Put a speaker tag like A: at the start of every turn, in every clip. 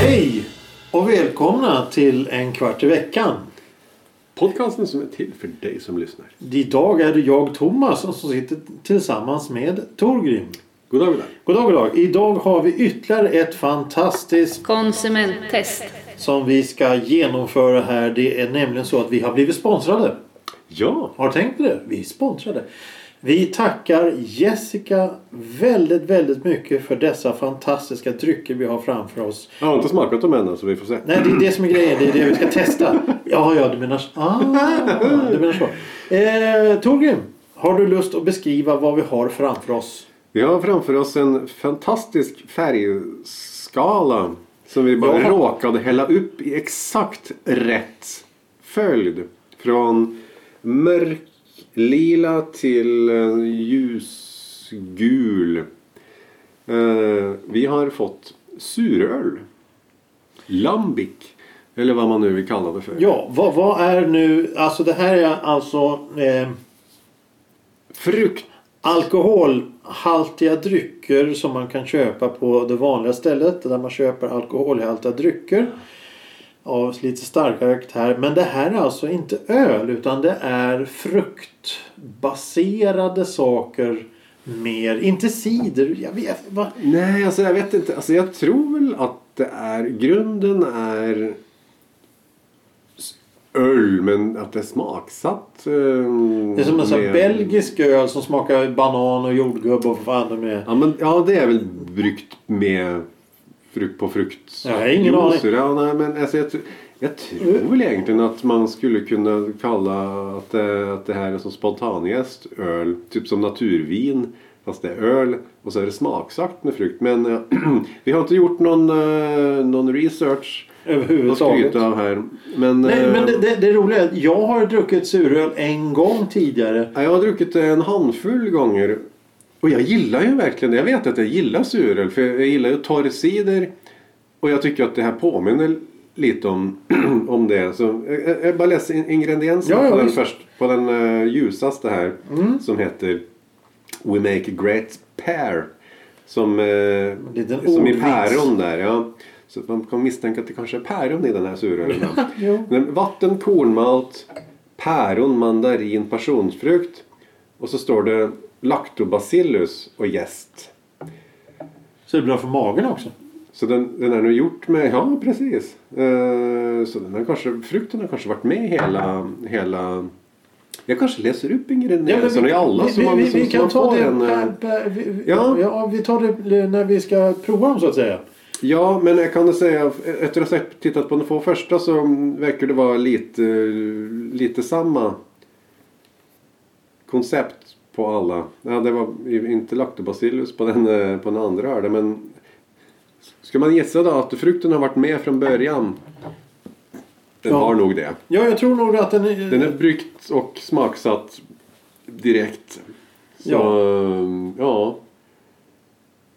A: Hej och välkomna till en kvart i veckan.
B: Podcasten som är till för dig som lyssnar.
A: Idag är det jag, Thomas, som sitter tillsammans med Torgrim.
B: God dag, god dag.
A: God dag, god dag. Idag har vi ytterligare ett fantastiskt
C: Konsumenttest.
A: som vi ska genomföra här. Det är nämligen så att vi har blivit sponsrade.
B: Ja,
A: Har du tänkt på det? Vi är sponsrade. Vi tackar Jessica väldigt, väldigt mycket för dessa fantastiska drycker vi har framför oss.
B: jag har inte smakat dem än så vi får se.
A: Nej, det är det som är grejen. Det är det vi ska testa. Ja, ja, du menar så. Ah, du menar så. Eh, Torgrim, har du lust att beskriva vad vi har framför oss?
B: Vi har framför oss en fantastisk färgskala som vi bara
A: Ja.
B: råkade hälla upp i exakt rätt följd. Från mörklila till eh, ljusgul. Eh, Vi har fått suröl. Lambic. Eller vad man nu vill kalla det för.
A: Ja, vad, vad är nu... Alltså det här är alltså eh,
B: Frukt.
A: alkoholhaltiga drycker som man kan köpa på det vanliga stället där man köper alkoholhaltiga drycker av lite starkare karaktär. Men det här är alltså inte öl utan det är fruktbaserade saker mer. Inte cider. Jag vet, vad,
B: Nej, alltså jag vet inte. Alltså jag tror väl att det är... Grunden är s- öl, men att det är smaksatt. ehm,
A: det är som en sån här
B: med-
A: belgisk öl som smakar banan och jordgubb och vad fan de är.
B: Ja, men, ja, det är väl bryggt med frukt på frukt.
A: Ja, jag har ingen
B: juicer.
A: aning.
B: Ja, nej, men alltså jag, tr- jag tror väl egentligen att man skulle kunna kalla att det, att det här är som spontanjäst öl. Typ som naturvin. Fast det är öl och så är det smaksatt med frukt. Men eh, vi har inte gjort någon, eh, någon research att
A: Överhuvudtaget.
B: skryta av här. Men,
A: Nej, men
B: eh,
A: det, det, det roliga är att jag har druckit suröl en gång tidigare.
B: Ja, Jag har druckit det en handfull gånger. Och jag gillar ju verkligen det. Jag vet att jag gillar suröl. För jag gillar ju torr cider. Och jag tycker att det här påminner lite om, om det. Så eh, jag, jag bara läser in- ingredienserna
A: Ja, ja,
B: på, den
A: visst. Mm.
B: först, på den eh, ljusaste här. Som heter We Make a Great Pear. Som, eh,
A: Liten
B: som i
A: ordvits.
B: päron där. Ja. Så att man kan misstänka att det kanske är päron i den här surölen.
A: Jo.
B: Men Vatten, kornmalt, päron, mandarin, passionsfrukt. Och så står det lactobacillus och jäst.
A: Så det är bra för magen också.
B: Så den, den är nu gjort med, ja precis. Eh, så den har kanske, frukten har kanske varit med i hela, hela... Jag kanske läser upp ingredienserna i alla
A: vi,
B: som
A: vi,
B: man,
A: vi,
B: som,
A: vi
B: som
A: kan
B: man
A: ta
B: får
A: det
B: en... eh,
A: per, per, vi, ja.
B: Ja.
A: ja, vi tar det när vi ska prova dem så att säga.
B: Ja, men jag kan säga efter att ha sett- tittat på de två första så verkar det vara lite, lite samma koncept på alla. Ja, det var ju inte lactobacillus på den, eh, på den andra ölen, men ska man gissa då att frukten har varit med från början? Den
A: Ja.
B: har nog det.
A: Ja, jag tror nog att den är...
B: Den är bryggt och smaksatt direkt. Så, ehm,
A: Ja.
B: ja.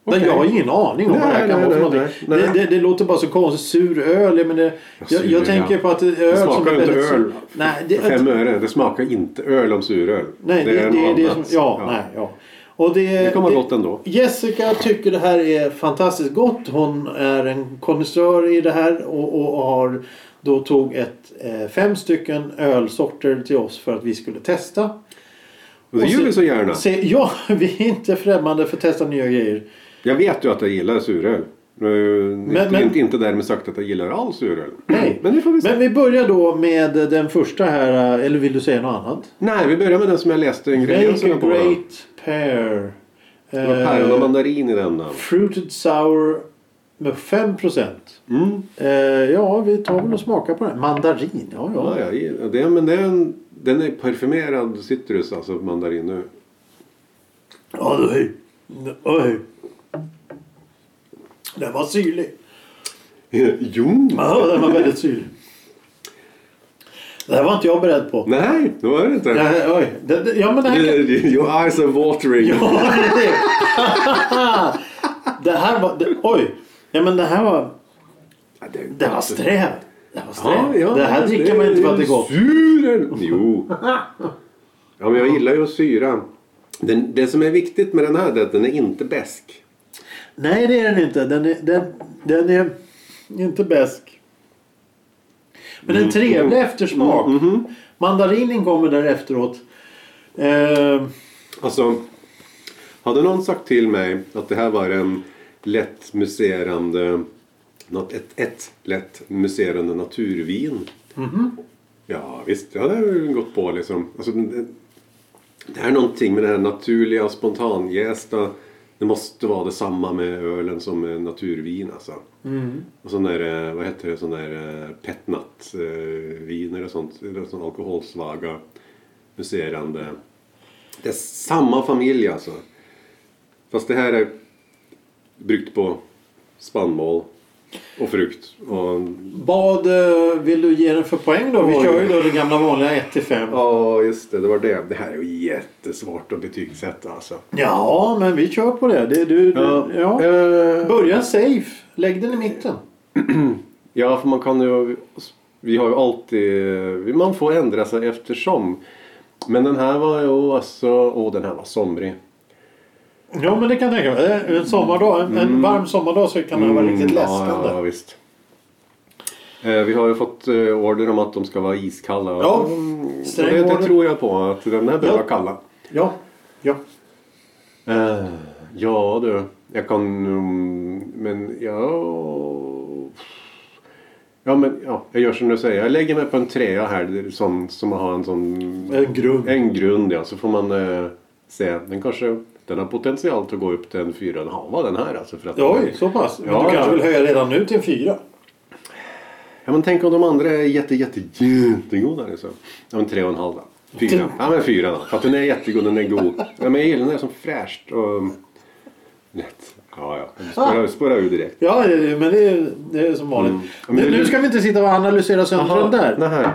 A: Men
B: Okej.
A: jag har ingen aning om vad det här
B: Nej,
A: kan
B: nej,
A: vara för
B: nej,
A: någonting.
B: nej, nej.
A: Det, det, det låter bara så konstigt. Sur öl. Men det, jag,
B: sur,
A: jag
B: ja.
A: tänker på att det är
B: Det
A: öl som
B: smakar
A: är
B: ju inte
A: väldigt...
B: öl.
A: Nej, det,
B: För fem öre. Det smakar inte öl om suröl.
A: nej, det, det,
B: är
A: det är
B: något
A: det som...
B: annat.
A: Ja, nej, ja. Och det,
B: Det kan vara gott ändå.
A: Jessica tycker det här är fantastiskt gott. Hon är en konnässör i det här och, och, och har då tog ett, eh, fem stycken ölsorter till oss för att vi skulle testa.
B: Och det
A: Och
B: gör
A: så-
B: vi så gärna.
A: Se, ja, vi är inte främmande för att testa nya grejer.
B: Jag vet ju att jag gillar suröl. Men, inte,
A: men-
B: inte, inte därmed sagt att jag gillar all suröl.
A: Nej.
B: Men det får vi se.
A: Men vi börjar då med den första här, eh, eller vill du säga något annat?
B: Nej, vi börjar med den som jag läste
A: Make
B: ingredienserna
A: a
B: på.
A: great pear.
B: Det var päron och
A: Eh,
B: mandarin i denna.
A: fruited sour med 5 procent. Eh,
B: Mm.
A: ja, vi tar väl och smakar på den. Mandarin, ja ja.
B: Ja, jag gillar det. Men det är en, den är parfymerad citrus, alltså mandarin nu.
A: Ja, du hej. Oj. Den var syrlig.
B: jo!
A: Ja, den var väldigt syrlig. Det här var inte jag beredd på.
B: Nej, det var det inte.
A: Det här, oj. Det, det, ja, men det här kan...
B: Your eyes are watering.
A: Ja, det är det. Det här var... Det, oj! Ja, men det här var...
B: Ja, det,
A: Det var strävt. Det, var
B: Ja,
A: strävt.
B: ja,
A: det här dricker man inte för att det är gott.
B: Syren! Jo. Ja, men jag gillar ju syra. Den, det som är viktigt med den här är att den är inte besk.
A: Nej, det är den inte. Den är, den, den är inte besk. Men en trevlig eftersmak. Mandarinen kommer där efteråt. Eh,
B: Alltså, hade någon sagt till mig att det här var en lätt muserande, något, ett, ett lätt muserande naturvin. Ja visst, det hade jag väl gått på liksom. Alltså, det, det här är någonting med det här naturliga, spontanjästa. Det måste vara detsamma med ölen som med naturvin alltså. Och sån där, eh, vad heter det, sån där eh, petnatvin eller sånt. Eller sån alkoholsvaga muserande. Det är samma familj alltså. Fast det här är bryggt på spannmål och frukt. Och,
A: vad eh, vill du ge den för poäng då? Vi
B: Oj.
A: kör ju då det gamla vanliga 1-5.
B: ja, just det. Det var det. Det här är ju jättesvårt att betygsätta alltså.
A: Ja, men vi kör på det. det du, du, ja.
B: Eh,
A: Börja safe. Lägg den i mitten.
B: ja, för man kan ju... Vi har ju alltid... Man får ändra sig eftersom. Men den här var ju alltså... Åh, den här var somrig.
A: Ja, men det kan jag tänka mig. Eh, En sommardag, en, en varm sommardag så kan den vara riktigt
B: Mm,
A: läskande.
B: Ja, ja, visst. Eh, vi har ju fått eh, order om att de ska vara iskalla.
A: Ja,
B: Mm,
A: sträng
B: det, det
A: order.
B: tror jag på, att den här behöver vara kalla.
A: ja. ja.
B: Eh, ja du, jag kan... mm, Men ja... Ja men ja, jag gör som du säger. Jag lägger mig på en trea här det är sån, som har en sån...
A: En grund.
B: En grund ja, så får man eh, se. Den kanske... Den har potential att gå upp till en fyra och en halva den här alltså. För att
A: Oj, så pass. Men
B: Ja,
A: du kanske
B: ja.
A: vill höja redan nu till en fyra?
B: Ja men tänk om de andra är jätte jätte jättegoda liksom. Ja men tre och en halv då. Fyra. Ja men fyra då. För att den är jättegod, den är god. Ja, men jag gillar den här som fräscht och um, lätt. Ja ja. Den
A: Ah.
B: Spårar, spårar ur direkt.
A: Ja, det- det- men det är, det är som vanligt.
B: Mm. Ja, men
A: Nu-
B: det-
A: nu ska vi inte sitta och analysera sönder den där.
B: Den här.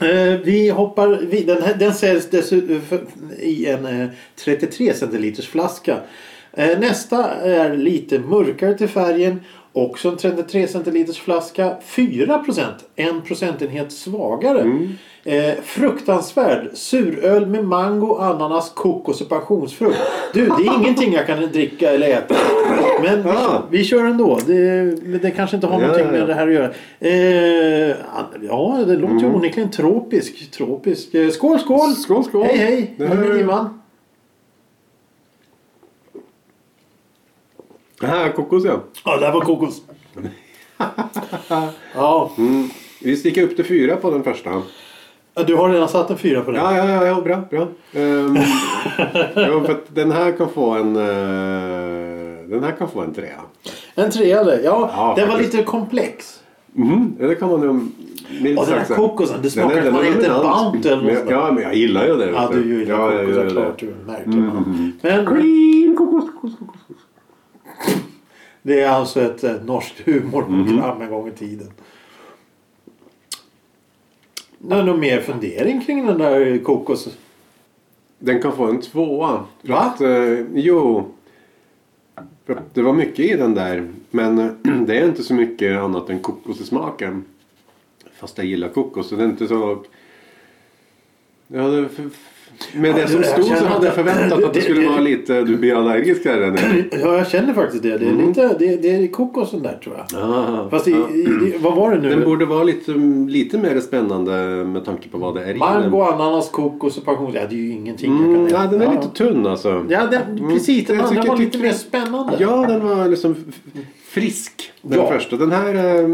A: Eh, vi hoppar vid. Den, här, den säljs dessutom för- i en eh, 33 centiliters flaska. Eh, nästa är lite mörkare till färgen. Också en 33 centiliters flaska. 4 En procentenhet svagare.
B: Mm.
A: Eh, fruktansvärd. Suröl med mango, ananas, kokos och passionsfrukt. Du, det är ingenting jag kan dricka eller äta. Men vi,
B: Ah.
A: vi kör ändå. Det, men det kanske inte har
B: Ja,
A: någonting
B: ja,
A: med
B: ja.
A: det här att göra. Eh, ja, det låter ju onekligen tropisk. tropisk. Eh, skål, skål!
B: Mm. Skål, skål!
A: Hej, hej!
B: Det
A: Det
B: här-
A: här... Ivan.
B: Den här kokos ja.
A: Ja, där var kokos. ja,
B: Mm. Vi sticker upp till fyra på den första.
A: du har redan satt en fyra på den.
B: Ja, ja, ja, ja bra, bra. Ehm, ja, för att den här kan få en... eh, den här kan få en trea.
A: En trea där. Ja,
B: Ja,
A: den var
B: faktiskt.
A: lite komplex.
B: Mhm, ja, det kan man ju... minst
A: Och den här
B: sagt säga.
A: kokosen, det smakar
B: Den är- den
A: fan
B: är
A: inte
B: dominant.
A: Bounty eller något
B: Men-
A: sånt.
B: Ja, men jag gillar ju det.
A: Ja,
B: vet
A: du gillar
B: Ja, jag
A: kokos.
B: gör Mm.
A: det är klart du märker man. Men
B: Green kokos, kokos, kokos.
A: det är alltså ett eh, norskt
B: Mm.
A: humorprogram en gång i tiden. Nå- Någon mer fundering kring den där kokos?
B: Den kan få en tvåa. För
A: Va?
B: Att, eh, jo. För att Det var mycket i den där. Men eh, det är inte så mycket annat än kokos i smaken. Fast jag gillar kokos. Så det är inte så... Jag hade för... Med det
A: Ja,
B: som
A: jag
B: stod så
A: känner
B: hade jag
A: att-
B: förväntat att det
A: det-
B: skulle
A: det-
B: vara lite... Du blir allergisk här eller?
A: Ja, jag känner faktiskt det. Det är, lite, det, det är kokosen där tror jag.
B: Ah,
A: Fast i,
B: Mm. ja.
A: i, i, vad var det
B: Den
A: nu?
B: borde vara lite, lite mer spännande med tanke på vad det är i
A: Mango,
B: den.
A: ananas, kokos och passion. Ja, det är ju ingenting
B: Mm,
A: jag kan
B: ja,
A: äta.
B: den är
A: Ja.
B: lite tunn alltså.
A: Ja, den, precis. Den
B: Jag
A: andra
B: tycker-
A: var lite
B: tycker-
A: mer spännande.
B: Ja, den var liksom f- frisk. Den
A: Ja.
B: första. Den här... eh,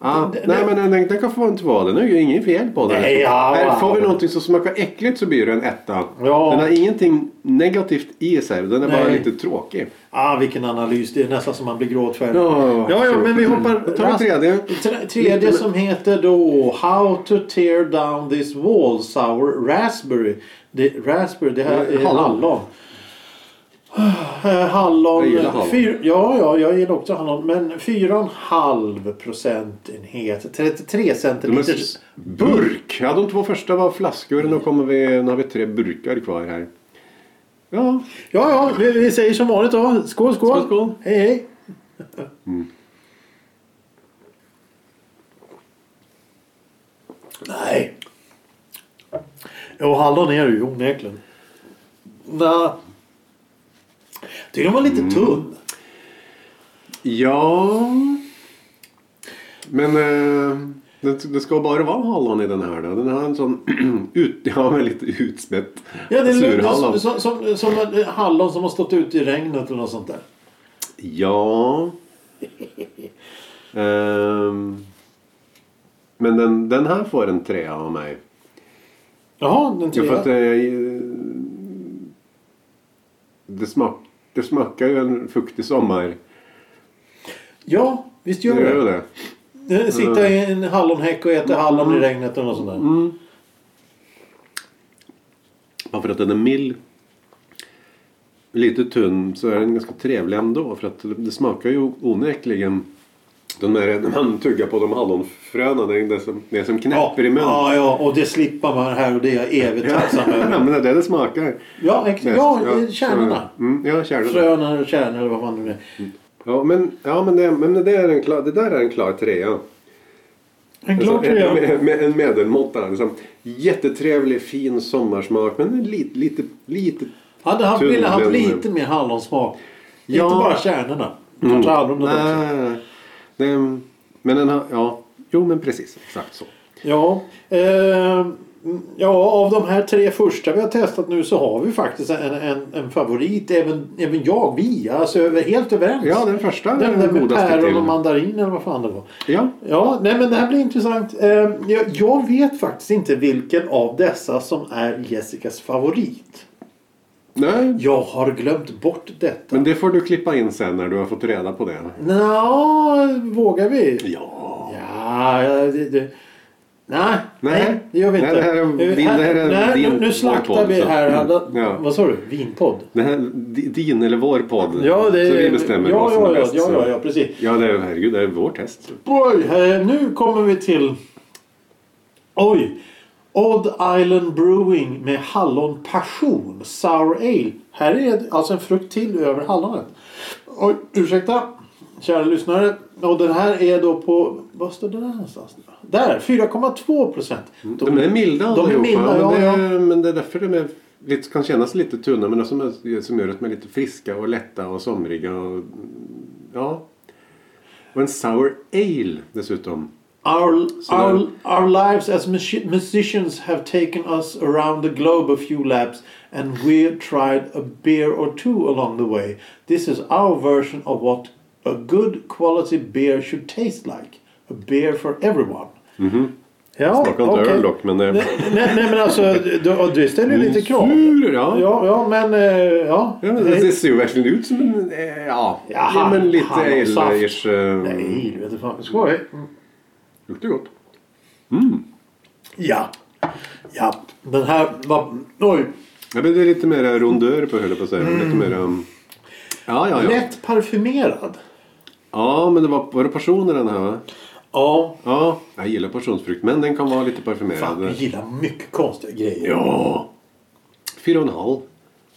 B: Mm, ja,
A: Den-
B: nej, men den, den kan få en tvåa. Den är ju inget fel på den.
A: Nej, ja.
B: Här får vi någonting som smakar äckligt så blir det en etta.
A: Ja.
B: Den har ingenting negativt i sig. Den är bara
A: Nej.
B: lite tråkig.
A: Ah, vilken analys. Det är nästan som man blir gråtfärdig.
B: Ja,
A: ja, ja,
B: absolut.
A: men vi hoppar...
B: Mm. Ta en tredje.
A: Tre- Tredje
B: Lite-
A: som heter då How to tear down this wall sour raspberry. Det, raspberry, det här
B: Eh,
A: är
B: hallon.
A: hallon. Eh, Hallon.
B: Jag gillar hallon.
A: Fyr, ja, ja, jag gillar också hallon. Men 4,5 procentenhet. 33
B: De är
A: centiliters.
B: s- burk! Ja, de två första var flaskor. Nu, kommer vi, nu har vi tre burkar kvar här. Ja,
A: Ja, ja, vi, vi säger som vanligt då. Skål, skål.
B: Skål, skål.
A: Hej, hej.
B: Mm.
A: Nej. Jo, hallon är det ju onekligen. Nja. Tycker den var lite
B: Mm.
A: tunn.
B: Ja. Men eh, det, det ska bara vara hallon i den här då. Den har en sån ut, ja, väldigt utspätt
A: Ja, det luktar
B: surhallon.
A: som, som, som en hallon som har stått ute i regnet eller något sånt där.
B: Ja. Ehm, men den, den här får en trea av mig.
A: Jaha, den
B: Ja, för att eh,
A: trea.
B: det, det, smak, det smakar ju en fuktig sommar.
A: Ja, visst
B: Det
A: gör
B: gör ju
A: det.
B: det. Mm.
A: Eh, Sitta i en hallonhäck och äta hallon i regnet eller något sånt där.
B: Bara för att den är mild. Lite tunn så är den ganska trevlig ändå. För att det- det smakar ju onekligen. Den där, när man tuggar på de hallonfröna. Det är det som, det är som knäpper i munnen.
A: Ja, ja, och det slipper man här och det är jag evigt tacksam
B: Ja,
A: över.
B: men det är det det smakar.
A: Ja, ex-
B: Bäst.
A: ja, eh, kärnorna.
B: Mm, ja, kärnorna.
A: Fröna eller kärnor eller vad fan det nu är.
B: Ja, men, ja, men, det, men det, där är en klar, det där är en klar trea.
A: En klar
B: Alltså, en,
A: tröja.
B: med, med- en medelmåtta. Liksom. Jättetrevlig, fin sommarsmak. Men en lite, lite, lite...
A: Hade haft, ville haft
B: Tunneln.
A: lite mer hallonsmak.
B: Ja. Mm.
A: Inte bara kärnorna. Kanske hallonet också.
B: Nej, det, men den har... Ja, jo men precis. Exakt så.
A: Ja, ehm, ja, av de här tre första vi har testat nu så har vi faktiskt en, en, en favorit. Även, även jag, vi. Alltså över, helt överens.
B: Ja, den första
A: den
B: är
A: där
B: den
A: med
B: godaste
A: päron och
B: till.
A: mandarin eller vad fan det var.
B: Ja,
A: Ja, nej men det här blir intressant. Eh, Jag, jag vet faktiskt inte vilken av dessa som är Jessicas favorit.
B: nej.
A: Jag har glömt bort detta.
B: Men det får du klippa in sen när du har fått reda på det.
A: Nå, vågar vi?
B: Ja.
A: Ja, det, det. Nej,
B: Nej.
A: nej, det gör vi
B: Nej,
A: inte.
B: det här är en
A: Eh,
B: vin- det här är en
A: nej, nu,
B: vin-
A: nu
B: vår
A: slaktar
B: podd,
A: vi
B: så.
A: här. Alla,
B: Ja.
A: Vad sa du? Vinpodd?
B: Det här, di- din eller vår podd.
A: Ja, det,
B: så vi bestämmer
A: ja,
B: vad som
A: ja,
B: är bäst.
A: Ja,
B: så.
A: ja, ja, precis.
B: ja det är, herregud, det är vår test.
A: Oj, eh, nu kommer vi till... Oj! Odd Island Brewing med hallon passion, sour ale. Här är alltså en frukt till över hallonet. Oj, ursäkta, kära lyssnare. Och den här är då på... Vad står det där någonstans? Där, 4,2 procent.
B: De är milda
A: De är
B: allihopa,
A: milda,
B: men,
A: ja,
B: det,
A: ja.
B: är- men det är därför de är lite, kan kännas lite tunna men det som, är, som gör att de är lite friska och lätta och somriga. Och, ja. och en sour ale dessutom.
A: Our,
B: Så där.
A: our, our lives as musi- musicians have taken us around the globe a few laps and we tried a beer or two along the way. This is our version of what a good quality beer should taste like. A beer for everyone. Ja,
B: Mm-hmm. Snacka inte
A: okej.
B: öl dock men... eh,
A: Nej, nej men alltså, det, det ställer ju lite krav.
B: sur, ja.
A: Ja,
B: ja.
A: ja men... eh, Ja.
B: Mm. men det, det ser ju verkligen ut som en... eh, Ja,
A: Ja,
B: ja men lite
A: hallonsaft.
B: ale-ish. eh,
A: Nej, du vet fan. Skoj.
B: Luktar gott.
A: Ja. Ja. Den här var... Oj.
B: Ja, men det är lite mer eh, rondör på höll jag på att säga. Lite mer... um, Ja, ja, ja.
A: Mm. Lätt parfymerad.
B: Ja, men det var, var det passioner den här va?
A: Ja.
B: Ja, jag gillar passionsfrukt men den kan vara lite parfymerad.
A: Fan, du gillar mycket konstiga grejer.
B: Ja! Fyra och en halv.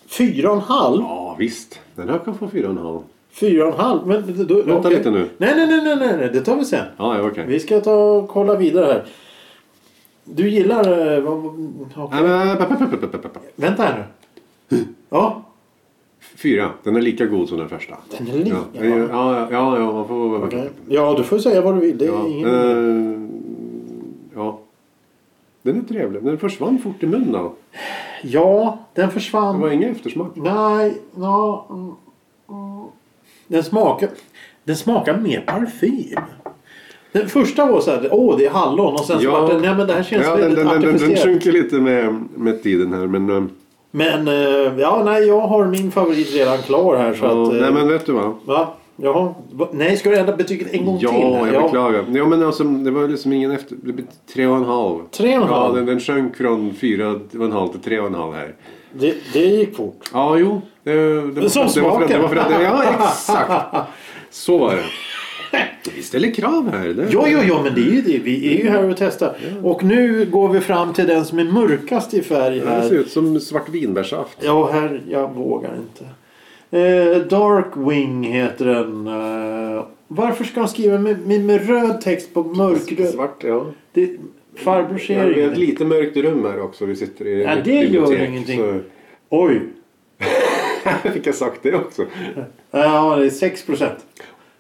A: Fyra och en halv?
B: Ja, visst. Den här kan få fyra och en halv.
A: Fyra och en halv? Men, då,
B: Vänta
A: okej.
B: lite nu.
A: Nej, nej, nej, nej, nej, nej, det tar vi sen.
B: Ja, ja, okej.
A: Vi ska ta och kolla vidare här. Du gillar... eh, vad- vad-
B: Nej, men, äh, pa, pa, pa, pa, pa, pa, pa.
A: Vänta här
B: Hm.
A: nu. Ja,
B: Fyra. Den är lika god som den första.
A: Den är lika?
B: Ja, ja, ja. ja, ja man får...
A: okej. ja du får säga vad du vill. Det är
B: Ja,
A: ingen...
B: eh, ja. Den är trevlig. Den försvann fort i munnen då.
A: Ja, den försvann.
B: Det var ingen eftersmak.
A: Nej, ja... mm, mm. Den smakar, den smakar mer parfym. Den första var så här, åh det är hallon och sen så
B: Ja.
A: vart den, nej men det här känns
B: Ja, den,
A: väldigt
B: den, den, den, den
A: artificiellt.
B: sjunker lite med, med tiden här men... eh,
A: Men eh, ja, nej jag har min favorit redan klar här så
B: ja,
A: att... eh,
B: nej men vet du vad?
A: Va? Jaha. Va- Nej, ska du ändra betyget en gång
B: Ja,
A: till? här?
B: jag beklagar. Ja, men alltså, det var liksom ingen efter... Det blev tre och en halv.
A: Tre och en halv?
B: Ja, den, den sjönk från fyra och en halv till tre och en halv här.
A: Det, det gick fort.
B: Ja, jo. Det, det, var,
A: Som
B: det, var, för att- det var för att...
A: smaken.
B: Ja, exakt. Så var det. Vi ställer krav här. Det
A: Jo, jo, jo, men det är ju det. Vi är ju här och testar. Och nu går vi fram till den som är mörkast i färg
B: Det ser
A: här.
B: ut som svart vinbärssaft.
A: Ja, här, jag vågar inte. Eh, Darkwing heter den. Eh, varför ska de skriva med, med, med röd text på mörkröd?
B: Svart, ja.
A: Det, farbror
B: Vi
A: ser
B: har ett
A: ingenting.
B: lite mörkt rum här också. Vi sitter i
A: Ja,
B: ett
A: det gör
B: bibliotek,
A: ingenting.
B: Så...
A: Oj!
B: Fick jag sagt det också?
A: Ja, det är 6 procent.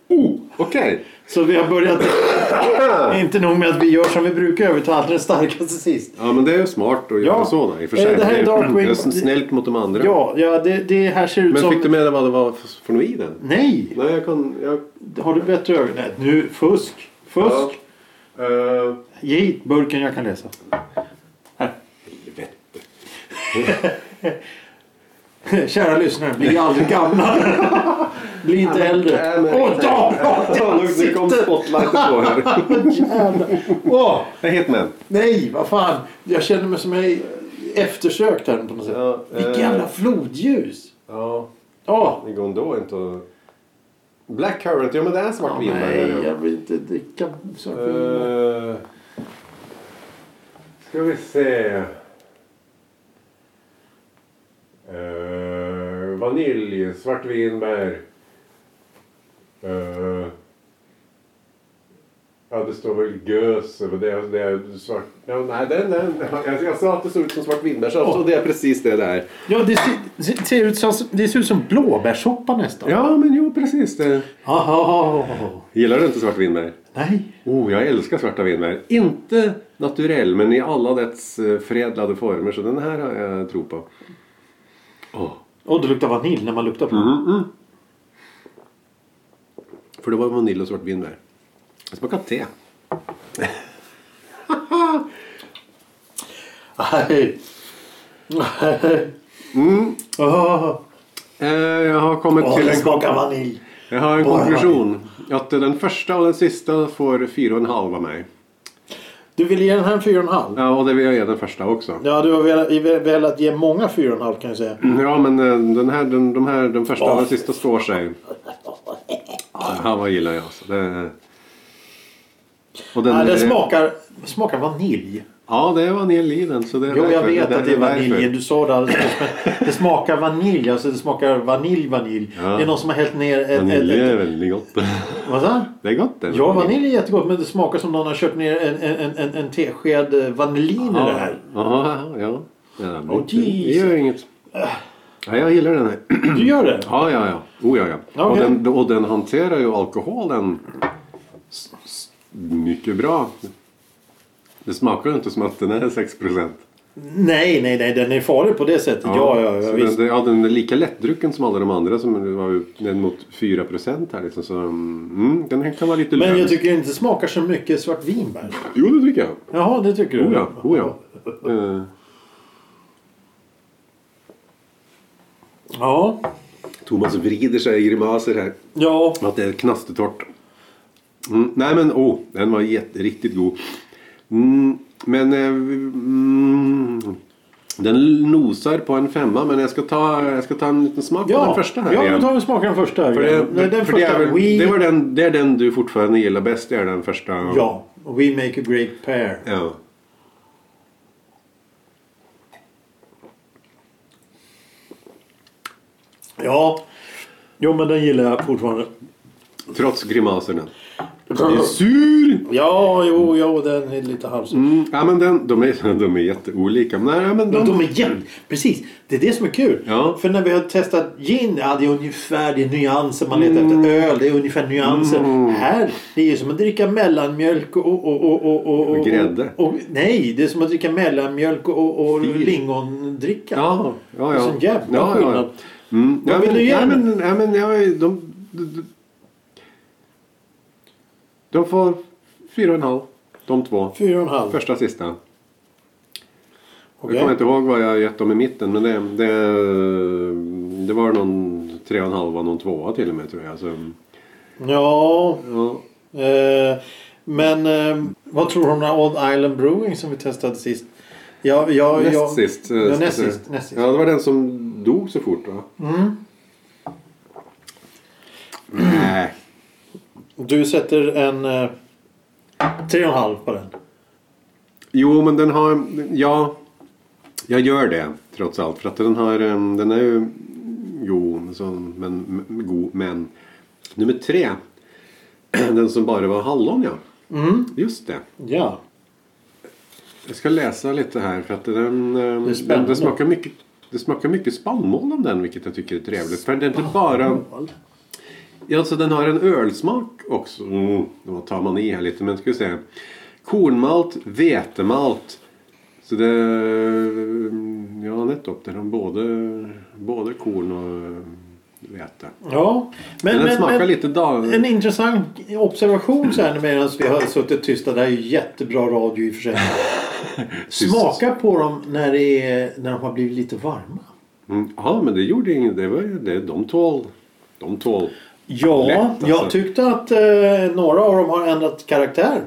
B: Oh, okej.
A: Så vi har börjat... inte nog med att vi gör som vi brukar gör, vi tar alltid den starkaste sist.
B: Ja, men det är ju smart att
A: Ja.
B: göra så då, i och för
A: Eh,
B: sig.
A: det här är
B: ju
A: Darkwing.
B: sn- snällt mot de andra.
A: Ja, ja det, det här ser ut
B: men
A: som...
B: fick du med dig vad det var för- från vinen?
A: Nej!
B: Nej, jag kan... Jag,
A: Har du bättre ögon? Nej, nu, fusk! Fusk!
B: Ja. Eh,
A: Ge hit burken, jag kan läsa.
B: helvete.
A: Kära lyssnare, bli aldrig gamla. bli inte äldre.
B: Nej, men-
A: Åh, då!
B: Ja, nu, nu kom spotlightet på här.
A: Åh,
B: Jag heter med.
A: nej, vad fan. Jag känner mig som jag är eftersökt här på något sätt.
B: Ja,
A: Vilket
B: eh.
A: jävla flodljus!
B: Ja,
A: Åh!
B: det går ändå inte att... Blackcurrant, ja men det är svart
A: Ja,
B: vinbär.
A: nej,
B: där, ja.
A: jag vill inte dricka svart vin.
B: Eh, ska vi se. Eh, vanilj, svartvinbär. Eh, ja, det står väl gös. men Det är, det är svart... Ja, nej, den, den, jag, jag sa att det såg ut som svartvinbärssaft och det är precis det där.
A: Ja, det ser, det ser ut som, det ser ut som blåbärssoppa nästan.
B: Ja, men jo, precis det.
A: Aha.
B: Gillar du inte svartvinbär?
A: Nej.
B: Oh, jag älskar svarta vinbär. Inte naturell, men i alla dess eh, förädlade former. Så den här har jag tro på. Åh.
A: Och det luktar vanilj när man luktar
B: Mm.
A: på den.
B: För det var vanilj och svart vinbär. Det smakar te.
A: Nej. Nej. Åh,
B: Eh, jag har kommit
A: åh,
B: till
A: det
B: en,
A: smakar vanilj.
B: jag har en
A: Bara
B: konklusion. Att den första och den sista får fyra och en halv av mig.
A: Du vill ge den här en 4,5?
B: Ja, och det vill jag ge den första också.
A: Ja, du har velat, velat ge många 4,5 kan jag säga.
B: Ja, men eh, den här, den, de här, den första och
A: Åh.
B: den sista står sig. Ja, vad gillar jag alltså. Det... Och den,
A: Nej, den
B: eh,
A: smakar, smakar vanilj.
B: Ja, det är vanilj i den. Så det är
A: Jo, jag
B: därför.
A: vet att det är vanilj.
B: därför.
A: Du sa det alldeles nyss, men Det smakar vanilj. Alltså det smakar vanilj, vanilj.
B: Ja.
A: Det är någon som har hällt ner ett...
B: Vanilj
A: ett,
B: är
A: ett
B: väldigt gott.
A: vad sa han?
B: Det är gott det.
A: Ja, vanilj är jättegott. Men det smakar som någon har kört ner en, en, en, en, en tesked eh, vanillin i det
B: Ja,
A: här.
B: ja. ja. ja men
A: Åh,
B: det- det gör inget. Ja, jag gillar den här.
A: Du gör det?
B: Ja, ja, ja. Oh, ja, ja. Och,
A: Okej.
B: den, och den hanterar ju alkoholen s- s- mycket bra. Det smakar ju inte som att den är 6 procent.
A: Nej, nej, nej. Den är farlig på det sättet. Ja, ja, ja, visst.
B: den, ja, den är lika lättdrucken som alla de andra som var ju den mot 4 procent här liksom. Så, mm, den här kan vara lite
A: Men
B: lös.
A: jag tycker inte det smakar så mycket svart vinbär.
B: Jo, det tycker jag.
A: Jaha, det tycker du?
B: Oh ja, oh ja. Eh,
A: Ja.
B: Thomas vrider sig i grimaser här.
A: Ja.
B: Att det är knastertorrt. Mm, nej men åh, oh, den var jätte, riktigt god. Mm, men eh, mm, den nosar på en femma men jag ska ta, jag ska ta en liten smak på
A: Ja,
B: den första här
A: ja men
B: igen.
A: tar vi smakar den första. Här
B: För
A: igen.
B: det,
A: Nej, den
B: för
A: första.
B: det, är, väl-
A: we,
B: det, var den, det är den du fortfarande gillar bäst, det är den första.
A: Ja, we make a great pair.
B: Ja.
A: Ja. Jo, men den gillar jag fortfarande.
B: Trots grimaserna. Den är sur!
A: Ja, jo, jo, den är lite halvsur.
B: Mm, ja, men den, de, är, de är jätteolika. Men, nej,
A: De,
B: men de,
A: de är jämn. Precis, det är det som är kul.
B: Ja.
A: För när vi har testat gin, ja, det är ungefär det är nyanser man letar
B: Mm.
A: efter. Öl, det är ungefär nyanser. Här, det är ju som att dricka mellanmjölk och... och, och, och, och, och
B: Och grädde.
A: Och, nej, det är som att dricka mellanmjölk och, och, och
B: Fil.
A: lingondricka.
B: Ja, ja, ja.
A: Det är sån jävla
B: ja,
A: skillnad.
B: Ja, ja. Mm.
A: Vad
B: Ja,
A: vill
B: men,
A: du
B: ja,
A: göra?
B: men, ja, men, ja, de, de, de, de får fyra och en halv, de två.
A: Fyra och en halv.
B: Första sista.
A: Okej.
B: Jag kommer inte ihåg vad jag gett dem i mitten men det, det, det var någon tre och en halva, någon tvåa till och med tror jag. Så,
A: Ja,
B: ja.
A: eh, men eh, vad tror du om den här Odd Island Brewing som vi testade sist? Ja, ja,
B: Näst
A: ja.
B: sist. eh,
A: Ja,
B: ska
A: näst
B: jag
A: sist,
B: säga.
A: näst sist. Mm.
B: Ja, det var den som dog så fort va? Nej.
A: Du sätter en eh, tre och en halv på den.
B: Jo, men den har... Ja, jag gör det trots allt. För att den har... em, Den är ju god, så, men, men- god, men... Nummer tre. Den som bara var hallon, ja.
A: Mm.
B: Just det.
A: Ja.
B: Jag ska läsa lite här för att den... em,
A: är
B: den,
A: spännande.
B: den smakar mycket... Det smakar mycket spannmål om den vilket jag tycker är trevligt. För den är inte
A: Ah.
B: bara... Ja, alltså den har en ölsmak också. Mm, då tar man i här lite, men ska vi se. Kornmalt, vetemalt. Så det... mm, Ja, nettopp. Det är de både, både korn och mm, vete.
A: Ja. Men,
B: Men, den
A: men,
B: smakar
A: men
B: lite dag...
A: en intressant observation så här medan vi har suttit tysta. Det här är ju jättebra radio i och för sig. Smaka på dem när, det är, när de har blivit lite varma.
B: Mm, ja, men det gjorde inget. Det var, det, de tål. De tål.
A: Ja,
B: Lätt, alltså.
A: jag tyckte att eh, några av dem har ändrat karaktär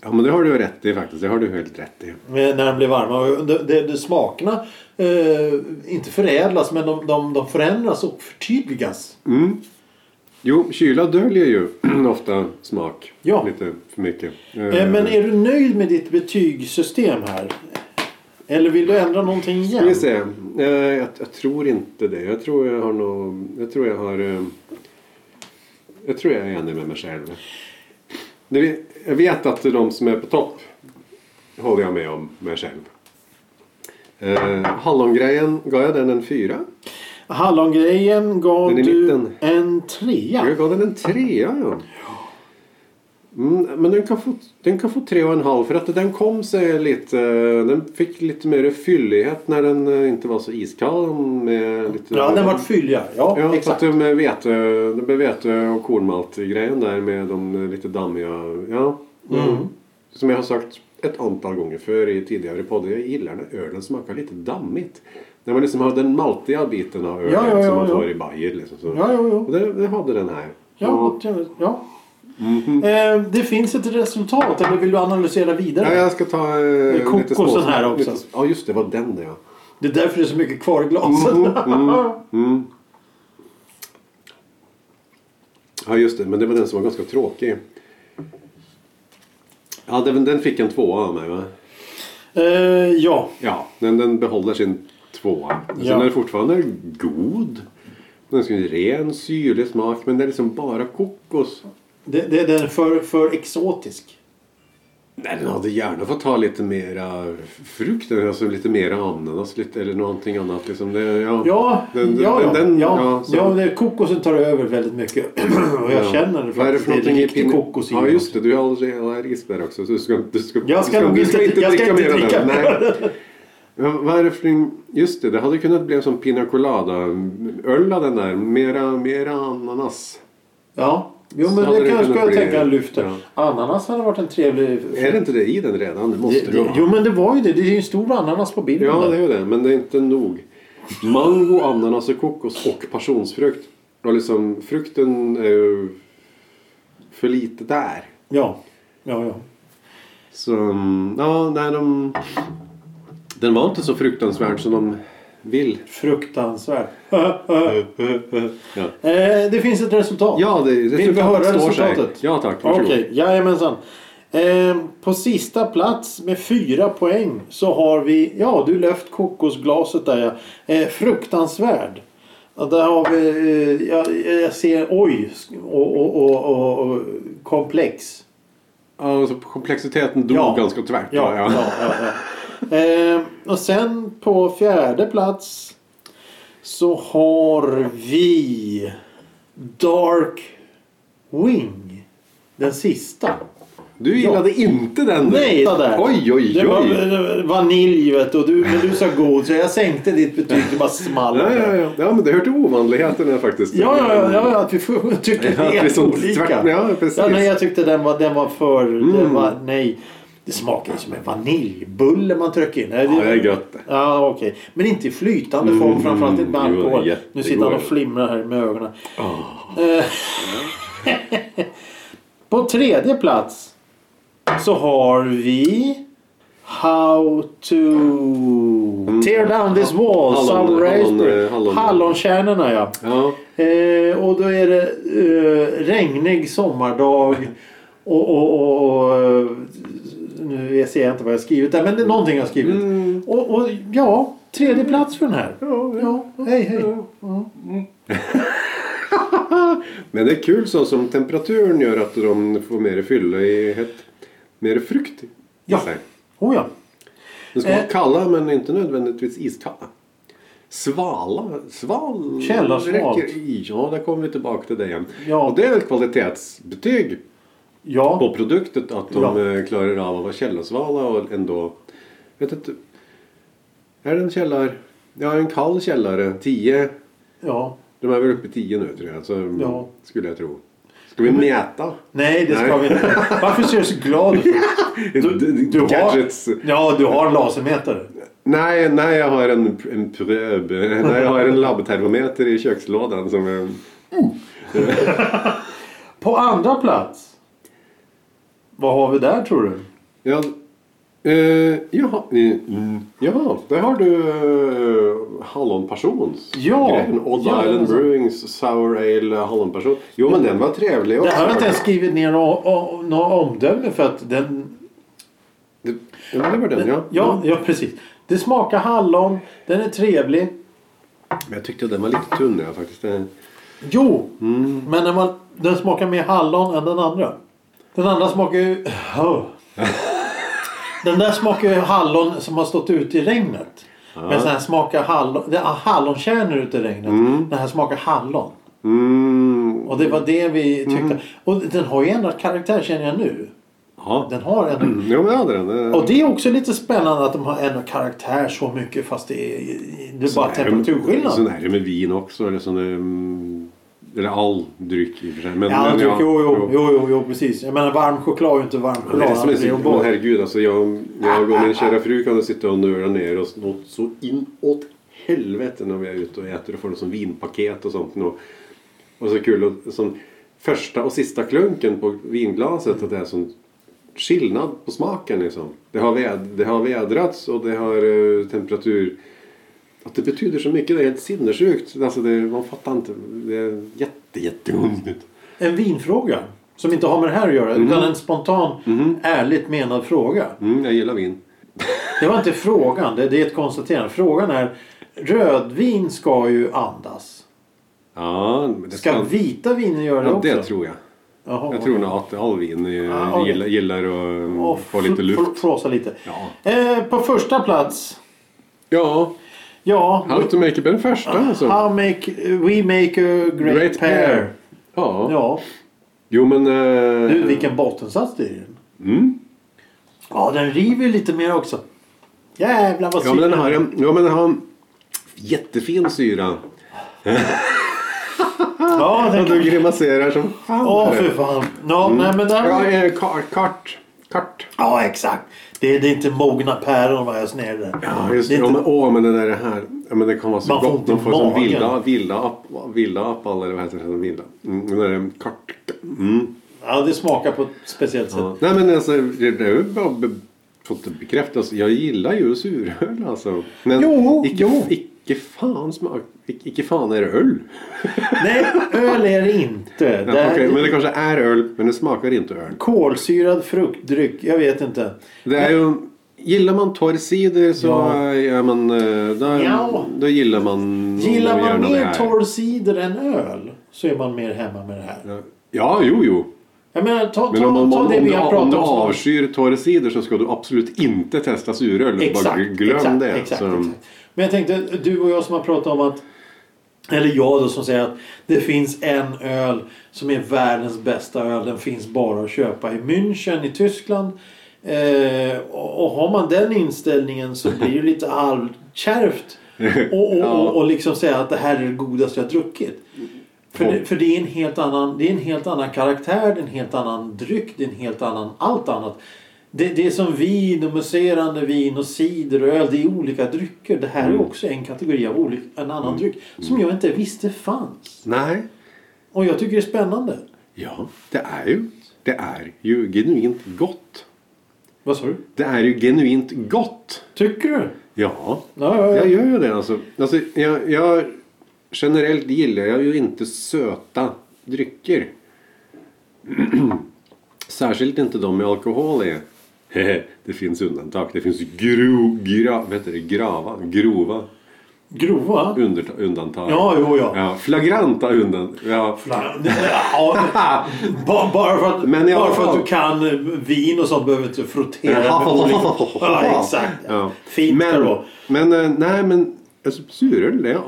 B: Ja, men det har du rätt i faktiskt. Det har du helt rätt i.
A: eh, när de blir varma. Och Det, det, det smakerna, eh, inte förädlas, men de, de, de förändras och förtydligas.
B: Jo, kyla döljer ju ofta smak.
A: Ja.
B: Lite för mycket.
A: Eh,
B: Eh,
A: Men är du nöjd med ditt betygssystem här? Eller vill du ändra någonting
B: Ska
A: igen?
B: vi se. Eh, jag, jag tror inte det. Jag tror jag har nog... Jag tror jag har... eh, jag tror jag är enig med mig själv. Det, vi- jag vet att de som är på topp håller jag med om mig själv. Uh, hallongrejen, gav jag den en fyra?
A: Hallongrejen gav
B: Den i
A: du
B: mitten.
A: en trea.
B: Jag gav den en trea, ja. Mm, men den kan, få, den kan få tre och en halv för att den kom sig lite... eh, Den fick lite mer fyllighet när den eh, inte var så iskall. Med lite,
A: Ja, den vart fylligare. Ja,
B: Ja,
A: exakt.
B: exakt. Att med vete, det blev vete och kornmalt-grejen där med de lite dammiga... Ja.
A: Mm.
B: Som jag har sagt ett antal gånger för i tidigare poddar. Jag gillar när ölen smakar lite dammigt. När man liksom har den maltiga biten av ölen
A: Ja, ja,
B: som
A: ja,
B: man
A: ja.
B: får i Bayer. Liksom, så.
A: Ja, jo,
B: Och
A: jo.
B: det, det hade den här.
A: Ja,
B: Och-
A: ja. ja.
B: Mhm.
A: Eh, det finns ett resultat, eller vill du analysera vidare?
B: ja, jag ska ta eh, lite
A: kokosen
B: småsmak-
A: här också.
B: lite- Ja, just det. var den det ja.
A: Det är därför det är så mycket kvar i glaset.
B: Mhm, Mm. Ja, just det. Men det var den som var ganska tråkig. Ja, den, den fick en tvåa av mig va?
A: Eh, ja,
B: Ja, den, den behåller sin tvåa. Sen
A: Ja.
B: är den fortfarande god. Den ska ju ren, syrlig smak men det är liksom bara kokos.
A: det, det, den är för, för exotisk.
B: Nej, den hade gärna fått ta lite mera frukt, alltså lite mera ananas lite, eller någonting annat. Liksom det, ja,
A: Ja,
B: den, den-
A: ja, ja.
B: den- den-
A: ja,
B: så-
A: ja det, kokosen tar över väldigt mycket. Och jag
B: ja.
A: känner det
B: Vad är det
A: faktiskt.
B: för någonting
A: det
B: i
A: är riktig
B: pin-
A: kokos i
B: Ja,
A: den.
B: just det. Du är allergi- allergisk där också. Så du ska, du ska,
A: Jag ska
B: du
A: nog
B: du
A: inte- jag ska inte
B: mer av
A: dricka
B: den. Nej. Ja, Vad är det för en- Just det, det hade kunnat bli en sån pina colada-öl av den där. Mera, mera ananas.
A: Ja, jo,
B: Så
A: men
B: hade
A: det
B: det
A: kanske
B: kunnat
A: jag
B: bli-
A: tänka lyfter.
B: ja.
A: Ananas hade varit en trevlig...
B: Är det inte det i den redan? Det måste
A: Det,
B: det, vara.
A: det, jo, men det var ju det. Det är ju en stor ananas på bilden.
B: Ja,
A: där.
B: det är ju det. Men det är inte nog. Mango, ananas och kokos och passionsfrukt. Och liksom, frukten är ju för lite där.
A: ja. ja, ja.
B: Så, mm, ja, nej, de... Den var inte så fruktansvärd som de vill.
A: Fruktansvärt.
B: Ja,
A: Eh, det finns ett resultat.
B: ja det, det
A: Vill vi höra
B: står sig.
A: resultatet?
B: Ja, tack.
A: Okej,
B: Varsågod.
A: jajamensan. Eh, på sista plats med fyra poäng så har vi, ja du löft kokosglaset där ja. Eh, fruktansvärd. Ja, där har vi, eh, jag, jag ser oj sk- och, och, och, och, och komplex.
B: Ja, så komplexiteten dog
A: Ja.
B: ganska tvärt.
A: Ja, ja, ja, ja. Eh, och sen på fjärde plats så har vi Dark Wing. Den sista.
B: Du gillade inte den. du.
A: Nej, där.
B: Oj, oj,
A: Det var
B: oj.
A: eh, vanilj vet du, och du, men du sa god så jag sänkte ditt betyg till bara small.
B: Ja, ja, ja. ja, men det hör till ovanligheterna faktiskt.
A: Ja, ja, ja, ja, att vi får- tycker
B: Ja, det är
A: helt
B: sånt
A: olika.
B: tvärt- ja, precis. Mm.
A: Ja, nej, jag tyckte den var, den var för... Den var, nej, det smakar ju som en vaniljbulle man trycker in. Nej,
B: Ja, det är gött.
A: Ja, okej. Men inte i flytande form, framförallt inte med
B: Mm, jo,
A: alkohol.
B: jättegod. Ah.
A: nu sitter han och flimrar här med ögonen. Eh, På tredje plats så har vi How to tear down this wall.
B: Mm. Hallon-
A: Some
B: hallon- eh,
A: raspberry.
B: hallon-
A: Hallonkärnorna ja.
B: Ja.
A: Eh, och då är det eh, regnig sommardag. Och, och, och, och eh, nu ser jag inte vad jag har skrivit där men det är någonting jag har skrivit.
B: Mm.
A: Och, och ja, tredje plats för den här.
B: Ja,
A: Ja, hej hej.
B: Men det är kul så som temperaturen gör att de får mer fylla i hett. Mer frukt i
A: Ja.
B: sig.
A: Oh, ja.
B: De ska vara
A: Eh.
B: kalla men inte nödvändigtvis iskalla. Svala, sval...
A: Källarsvalt.
B: räcker i. Ja, där kommer vi tillbaka till det igen.
A: Ja.
B: Och det är väl kvalitetsbetyg
A: Ja.
B: på produktet att de
A: Ja.
B: eh, klarar av att vara källarsvala och ändå... Vet inte, är det en källar... Ja, en kall källare. 10
A: ja.
B: De är väl uppe i 10 nu tror jag. Så,
A: Ja.
B: Skulle jag tro. Ska vi mäta?
A: Nej, det ska
B: Nej.
A: vi inte. Varför ser du så glad ut?
B: Gadgets.
A: har, ja, du har en lasermätare.
B: Nej, nej, jag har en, en pröb. Nej, jag har en labbtermometer i kökslådan som är...
A: På andra plats. Vad har vi där tror du?
B: Ja, eh, jaha, eh, mm, jaha, där har du eh, hallonpersons.
A: Ja,
B: grejen. Odd
A: ja,
B: Island
A: alltså.
B: Brewings Sour Ale hallonperson. Jo, men den var trevlig
A: Det här har jag inte ens skrivit ner några o- några omdömen för att den...
B: Det, ja, det var den, ja. Mm,
A: Ja, ja precis. Det smakar hallon. Den är trevlig.
B: Men jag tyckte den var lite tunn, ja, faktiskt. Eh,
A: Jo, men den, var, den smakar mer hallon än den andra. Den andra smakar ju... Åh. Den där smakar ju hallon som har stått ute i regnet. Men den här smakar hallon... Det är hallonkärnor ute i regnet. Den här smakar hallon.
B: Mm,
A: Och det var det vi tyckte. Och den har ju ändrat karaktär känner jag nu.
B: ja.
A: Den har ändrat...
B: Jo, men det hade den. Eh,
A: Och det är också lite spännande att de har ändrat karaktär så mycket fast det är, det är bara
B: Sån är det med- Sån
A: temperaturskillnad.
B: är det med vin också. Eller, sån, mm, eller all dryck i och för sig. Men,
A: Ja,
B: men
A: jag tycker, jo, jo, jo, jo, jo, precis. Jag menar varm choklad är ju inte varm
B: Det är det
A: choklad.
B: som är
A: Det är ju
B: så,
A: bara-
B: oh, herregud alltså jag, jag och min kära fru kan sitta och nöla ner oss något så inåt helvete när vi är ute och äter och får det som vinpaket och sånt. Och, och så kul och, som första och sista klunken på vinglaset att det är sån skillnad på smaken liksom. Det har, väd, det har vädrats och det har eh, temperatur. Att det betyder så mycket, det är helt sinnessjukt. Alltså det, man fattar inte. Det är jätte, jättekonstigt.
A: En vinfråga. Som inte har med det här att göra. Utan
B: Mhm.
A: en spontan, ärligt menad fråga.
B: Mm, jag gillar vin.
A: Det var inte frågan. Det, det är ett konstaterande. Frågan är. Rödvin ska ju andas.
B: Ja, men det
A: Ska vita viner göra det
B: Ja,
A: också?
B: det tror jag.
A: Jaha,
B: Jag tror nog att Alvin eh,
A: Ah, okej.
B: gillar, gillar att eh,
A: Och
B: få lite luft.
A: Flåsa lite.
B: Ja.
A: Eh, på första plats.
B: Ja,
A: Ja.
B: How to make it den första
A: Ah,
B: alltså.
A: How make, we make a great,
B: Great
A: pair.
B: pair. Ja.
A: Ja.
B: Jo men... eh,
A: Du, Mm. vilken bottensats det är i den.
B: Mm.
A: Ja, den river ju lite mer också. Jävlar vad
B: ja, men den har en, ja men den har en jättefin syra.
A: Ja, den...
B: Och du grimaserar som fan.
A: Åh, för fan. Ja, nej, men där...
B: Ja, eh, kart, kart. Kart.
A: Ja, exakt. Det är, det är inte mogna päron vad jag snäller.
B: Ja, just
A: det är
B: det. Ja,
A: inte...
B: men, åh, men det där är här. Ja, men det kan vara så
A: Man får
B: gott.
A: ont i
B: Man får som
A: magen.
B: vilda, vilda, app, vilda appal eller vad heter det? Vilda. Mm, det där är kart. mm.
A: ja, det smakar på ett speciellt sätt.
B: Ja. Nej men alltså, det det har ju bara be- fått det bekräftat. Alltså, Jag gillar ju suröl alltså. Men
A: Jo,
B: icke,
A: jo.
B: icke fan smak, icke, icke fan är det öl.
A: Nej, öl är det inte.
B: Ja,
A: Det här...
B: okej, men det kanske är öl, men det smakar inte öl.
A: Kolsyrad fruktdryck. Jag vet inte.
B: Det är ju, gillar man torr cider så
A: Ja.
B: är man, eh, då,
A: Ja.
B: då gillar man
A: Gillar man
B: gärna det
A: mer
B: här.
A: torr cider än öl så är man mer hemma med det här.
B: Ja, jo, jo.
A: Jag menar, ta, ta,
B: Men om, om,
A: ta
B: om,
A: det vi
B: du,
A: har
B: om du
A: pratat om.
B: avskyr torr cider så ska du absolut inte testa suröl. Bara
A: Exakt,
B: gl- glöm
A: exakt,
B: det.
A: Exakt,
B: så,
A: exakt. Men jag tänkte, du och jag som har pratat om att eller jag då som säger att det finns en öl som är världens bästa öl. Den finns bara att köpa i München i Tyskland. Eh, och, och har man den inställningen så blir det lite halvkärvt. Och, och, och, och liksom säga att det här är det godaste jag druckit. För, det, för det, är en helt annan, det är en helt annan karaktär, det är en helt annan dryck, det är en helt annan allt annat. Det, det är som vin och muserande vin och cider och öl. Det är olika drycker. Det här är också en kategori av olik, en annan dryck som jag inte visste fanns.
B: Nej.
A: Och jag tycker det är spännande.
B: Ja, det är ju, det är ju genuint gott.
A: Vad sa du?
B: Det är ju genuint gott.
A: Tycker du?
B: Ja,
A: Ja, ja,
B: jag
A: ja.
B: gör ju det alltså. alltså jag, jag, generellt gillar jag ju inte söta drycker. Särskilt inte de med alkohol i. det finns undantag. Det finns gro, gra, vad heter det, grava, grova
A: Grova?
B: under, undantag.
A: Ja, jo, ja.
B: Ja, flagranta undan. Ja.
A: Fla- Ja, ba- bara, för att,
B: Men i alla
A: bara för att
B: fall-
A: du kan eh, vin och sånt behöver du inte frottera. med olika- ja, exakt.
B: Ja.
A: Fint men...
B: men,
A: då.
B: men, eh, nej men alltså, suröl, ja,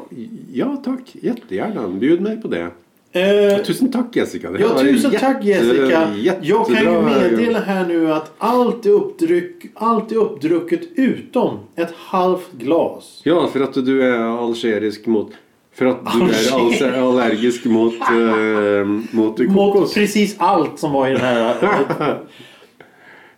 B: ja tack. Jättegärna. Bjud mig på det.
A: Eh,
B: Tusen tack Jessica. Det
A: ja,
B: här var
A: tusen
B: jätte-
A: tack Jessica. Jag kan ju
B: jättebra.
A: meddela här nu att allt är, uppdryck, allt är uppdrucket utom ett halvt glas.
B: Ja, för att du är algerisk mot... För att du är
A: Alger-
B: alls- allergisk mot, eh, mot
A: Mot
B: kokos.
A: precis allt som var i den här. eh,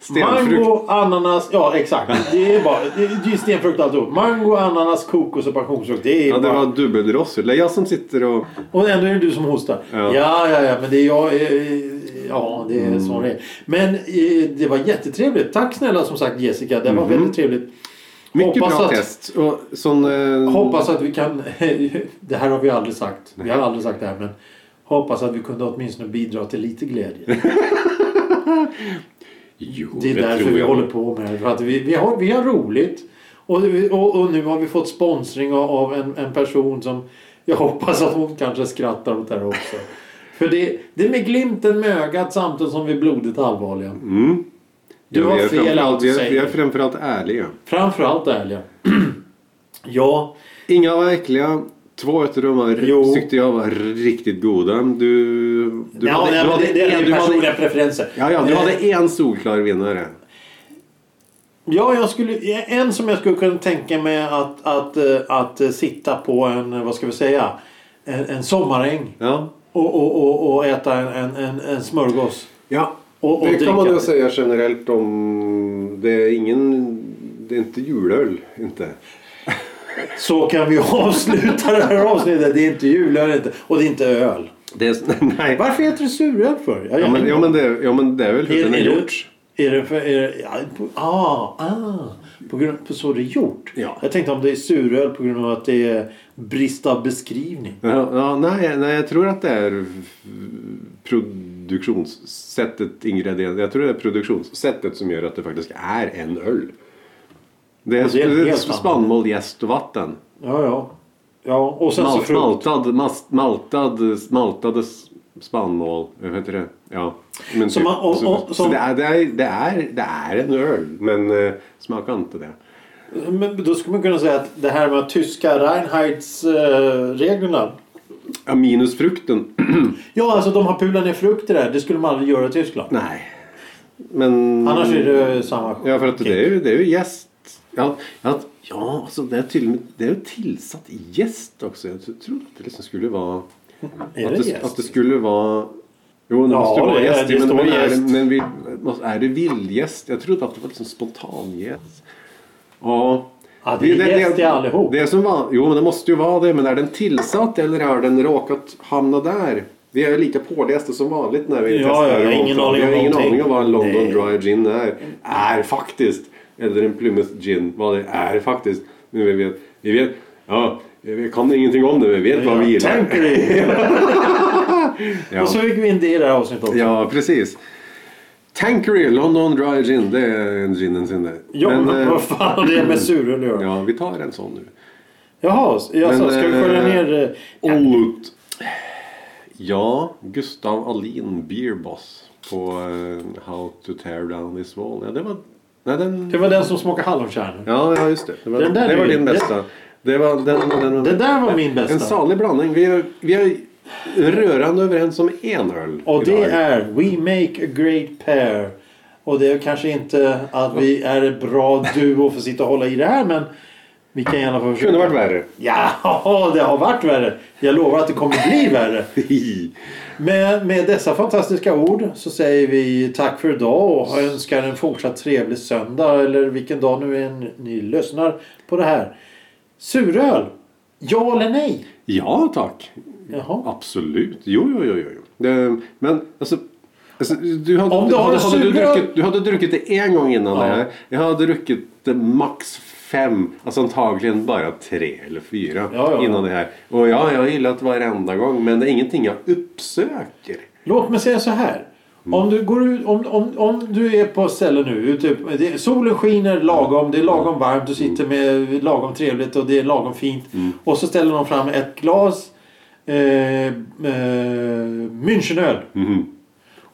B: Stenfrukt.
A: Mango, ananas, ja exakt. Det är bara det är ju stenfrukt alltihop. Mango, ananas, kokos och passionsfrukt. Det är
B: Ja, det
A: bara...
B: var dubbelrossel. Det är jag som sitter och...
A: Och ändå är det du som hostar. Ja,
B: Ja. Mm.
A: ja, ja, men det är jag. eh, Ja, det är så det är. Men eh, det var jättetrevligt. Tack snälla som sagt Jessica. Det var väldigt trevligt.
B: Mhm. Mycket
A: Hoppas
B: bra
A: att-
B: test. Och sån, eh,
A: Hoppas att vi kan... Det här har vi aldrig sagt. Vi har aldrig sagt det här men hoppas att vi kunde åtminstone bidra till lite glädje.
B: Jo,
A: Det är därför
B: tror
A: vi
B: jag.
A: håller på med det. För att vi, vi, har, vi har roligt. Och, och, och nu har vi fått sponsring av- av en, en person som jag hoppas att hon kanske skrattar åt det här också. För det, det är med glimten med ögat samtidigt som vi är blodigt allvarliga.
B: Mm.
A: Du
B: Ja,
A: har
B: vi är
A: fel
B: framförallt-
A: allt du
B: vi är-
A: säger.
B: Vi är framförallt ärliga.
A: Framförallt ärliga. ja,
B: Inga var äckliga. Två utav dem var,
A: Jo.
B: tyckte jag var riktigt goda. Du, du
A: ja nej,
B: du
A: men det, det är
B: en-
A: en
B: du hade,
A: personliga preferenser.
B: ja, ja, du
A: Eh,
B: hade en solklar vinnare.
A: Ja, jag skulle, en som jag skulle kunna tänka mig att, att, eh, att eh, sitta på en, eh, vad ska vi säga, en, en sommaräng
B: Ja.
A: och, och, och, och äta en, en, en, en smörgås.
B: ja.
A: Och, och
B: det
A: dricka.
B: kan man ju säga generellt om... Det är ingen... Det är inte julöl. Inte.
A: Så kan vi avsluta det här avsnittet. Det är inte jul, det är inte, och det är inte öl.
B: Det är, nej.
A: Varför heter det suröl för? Jag-
B: Ja men, ja, men, det, är- ja, men det är väl hur
A: Är-
B: den är
A: är det-
B: gjort.
A: Är det för... Är det, ja, på, ah, ah, på grund på så det är gjort.
B: Ja.
A: Jag tänkte om det är suröl på grund av att det är brist av beskrivning.
B: Ja, ja, nej, nej, jag tror att det är produktionssättet, ingredienser. Jag tror det är produktionssättet som gör att det faktiskt är en öl. Det är,
A: Och det är
B: det är
A: helt
B: spannmål, jäst och vatten.
A: Ja, ja. Ja, och sen så
B: Malt,
A: frukt.
B: maltad, mas, maltad, maltade s- spannmål. eh, Vad heter det? Ja. Men
A: Så man- och-
B: så-
A: och-
B: så
A: som-
B: det, är, det, är, det, är, det är en öl, men eh, smaka inte det.
A: Men då skulle man kunna säga att det här med tyska eh, Reinheitsreglerna.
B: Ja, minus frukten.
A: Ja, alltså de har pulat ner frukter där. Det skulle man aldrig göra i Tyskland.
B: nej. Men...
A: Annars är det eh, samma skit.
B: Mm. Ja, för att det är ju, det är ju jäst. Ja, ja, ja alltså det är till och med det är ju tillsatt jäst också. Jag trodde att det liksom skulle vara...
A: Är
B: att,
A: det
B: det,
A: jäst?
B: att det skulle vara... Jo, det
A: Ja,
B: måste vara
A: det är-
B: jäst.
A: det
B: men,
A: står
B: men,
A: jäst.
B: Är, det- men vi, måste- är det vildjäst? Jag trodde att det var liksom spontanjäst. Ja.
A: Ja, det är jäst i allihop.
B: Det är som var, jo, men det måste ju vara det. Men är den tillsatt eller har den råkat hamna där? Vi är ju lika pålästa som vanligt när vi
A: Ja,
B: testar.
A: ja, jag har
B: och
A: ingen aning
B: omtar. Vi
A: om
B: har ingen
A: någonting.
B: aning om vad en London
A: Nej.
B: Dry Gin är. Är faktiskt. Eller en Plymouth Gin. Vad det är faktiskt. Men vi vet. Vi vet. Ja, vi kan ingenting om det. men Vi vet vad vi
A: Ja,
B: gillar.
A: tänker det.
B: Ja.
A: Och så fick vi in det i det här avsnittet också.
B: Ja, precis. Tankery, London Dry Gin, det är en gin and sin där.
A: Ja, men,
B: eh,
A: vad fan har det med suröl att göra?
B: ja, vi tar en sån nu.
A: Jaha, alltså,
B: Men,
A: ska vi
B: eh,
A: skölja ner... eh,
B: Olut. Ja, Gustav Alin, Beer Boss på eh, How to tear down this wall. Ja, det var... Nej, den...
A: Det var den som smakade hallonkärnor.
B: Ja, ja just det. Det var,
A: Den där
B: det var
A: är-
B: din bästa. Det var den... den, den
A: Det där var min bästa.
B: En salig blandning. Vi är, vi är rörande överens om en öl
A: Och det
B: idag.
A: är We Make a Great Pair. Och det är kanske inte att vi är en bra duo för att sitta och hålla i det här men vi kan i alla fall
B: Det kunde
A: försöka.
B: varit värre.
A: Ja, det har varit värre. Jag lovar att det kommer bli värre. Men med dessa fantastiska ord så säger vi tack för idag och önskar en fortsatt trevlig söndag eller vilken dag nu än ni lyssnar på det här. Suröl! Ja eller nej?
B: ja, tack.
A: Jaha.
B: Absolut. Jo, jo, jo. jo, jo. Det, men Eh, alltså... Alltså, Du hade,
A: Om du har
B: hade,
A: en
B: hade du,
A: sugrör-
B: druckit, du hade druckit det en gång innan
A: Ja.
B: det här. Jag hade druckit det max fem, alltså antagligen bara tre eller fyra
A: Ja, ja, ja.
B: innan det här. Och ja, jag har gillat varenda gång men det är ingenting jag uppsöker.
A: Låt mig säga så här. Om, du går ut, om, om, om du är på ett ställe nu, ute, det, solen skiner lagom, det är lagom varmt, du sitter med lagom trevligt och det är lagom fint. Och så ställer de fram ett glas eh, eh, Münchenöl.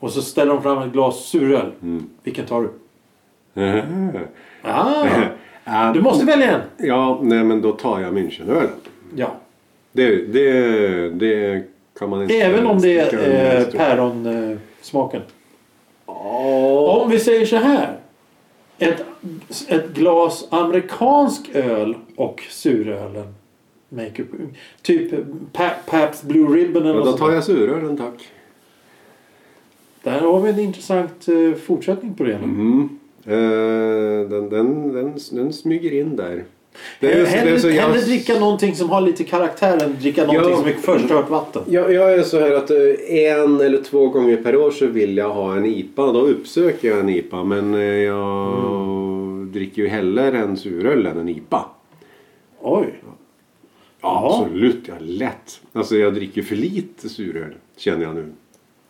A: Och så ställer de fram ett glas suröl. Vilken tar du? Ah,
B: Ja,
A: du måste välja en.
B: Eh, Ja, nej men då tar jag Münchenöl.
A: Ja.
B: Det, det, det kan man inte...
A: Även om det
B: sticka under
A: är eh,
B: stol.
A: päronsmaken. Eh, smaken.
B: Ja.
A: Om vi säger så här. Ett, ett glas amerikansk öl och surölen. Make up, typ Pa- Pabst Blue Ribbon eller
B: Ja, då
A: något
B: tar
A: sånt.
B: jag surölen tack.
A: Där har vi en intressant eh, fortsättning på det.
B: Mm. Eh, den, den, den, den smyger in där. Det
A: Eh,
B: är- det är
A: Hellre,
B: så jag-
A: hellre dricka någonting som har lite karaktär än dricka någonting som är förstört vatten.
B: Jag, jag är så här att eh, en eller två gånger per år så vill jag ha en IPA. Då uppsöker jag en IPA. Men eh, jag
A: Mm.
B: dricker ju hellre en suröl än en IPA.
A: Oj.
B: Ja,
A: Jaha.
B: absolut. Ja, lätt. Alltså jag dricker för lite suröl känner jag nu.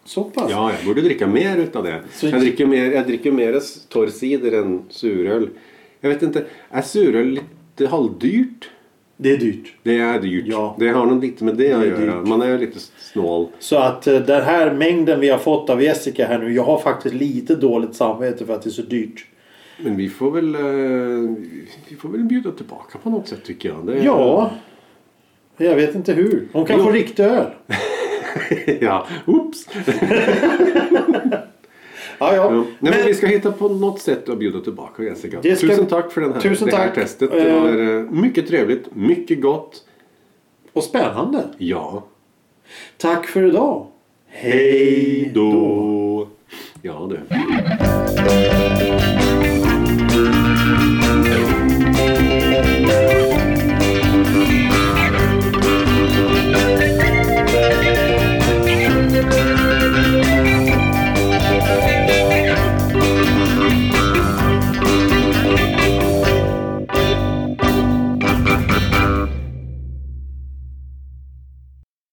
A: Så pass?
B: Ja, jag borde dricka mer utav det.
A: Så-
B: Jag dricker mer, jag dricker mer s- torr cider än suröl. Jag vet inte, är suröl lite halvdyrt?
A: Det är dyrt.
B: Det är dyrt.
A: Ja.
B: Det har nog lite med det, att
A: är
B: göra.
A: dyrt.
B: Man är lite snål.
A: Så att eh, den här mängden vi har fått av Jessica här nu. Jag har faktiskt lite dåligt samvete för att det är så dyrt.
B: Men vi får väl, eh, vi får väl bjuda tillbaka på något sätt tycker jag. Det är-
A: Ja. Jag vet inte hur. Hon kan
B: Jo.
A: få riktig öl.
B: ja. Oops.
A: Ja, ja.
B: Ja. Nej, men,
A: Men-
B: vi ska hitta på något sätt att bjuda tillbaka Jessica.
A: Det ska-
B: Tusen tack för den här,
A: Tusen
B: det här
A: tack.
B: testet.
A: Eh.
B: Det var eh, mycket trevligt, mycket gott.
A: Och spännande.
B: Ja.
A: Tack för idag. Hej
B: då. Ja du.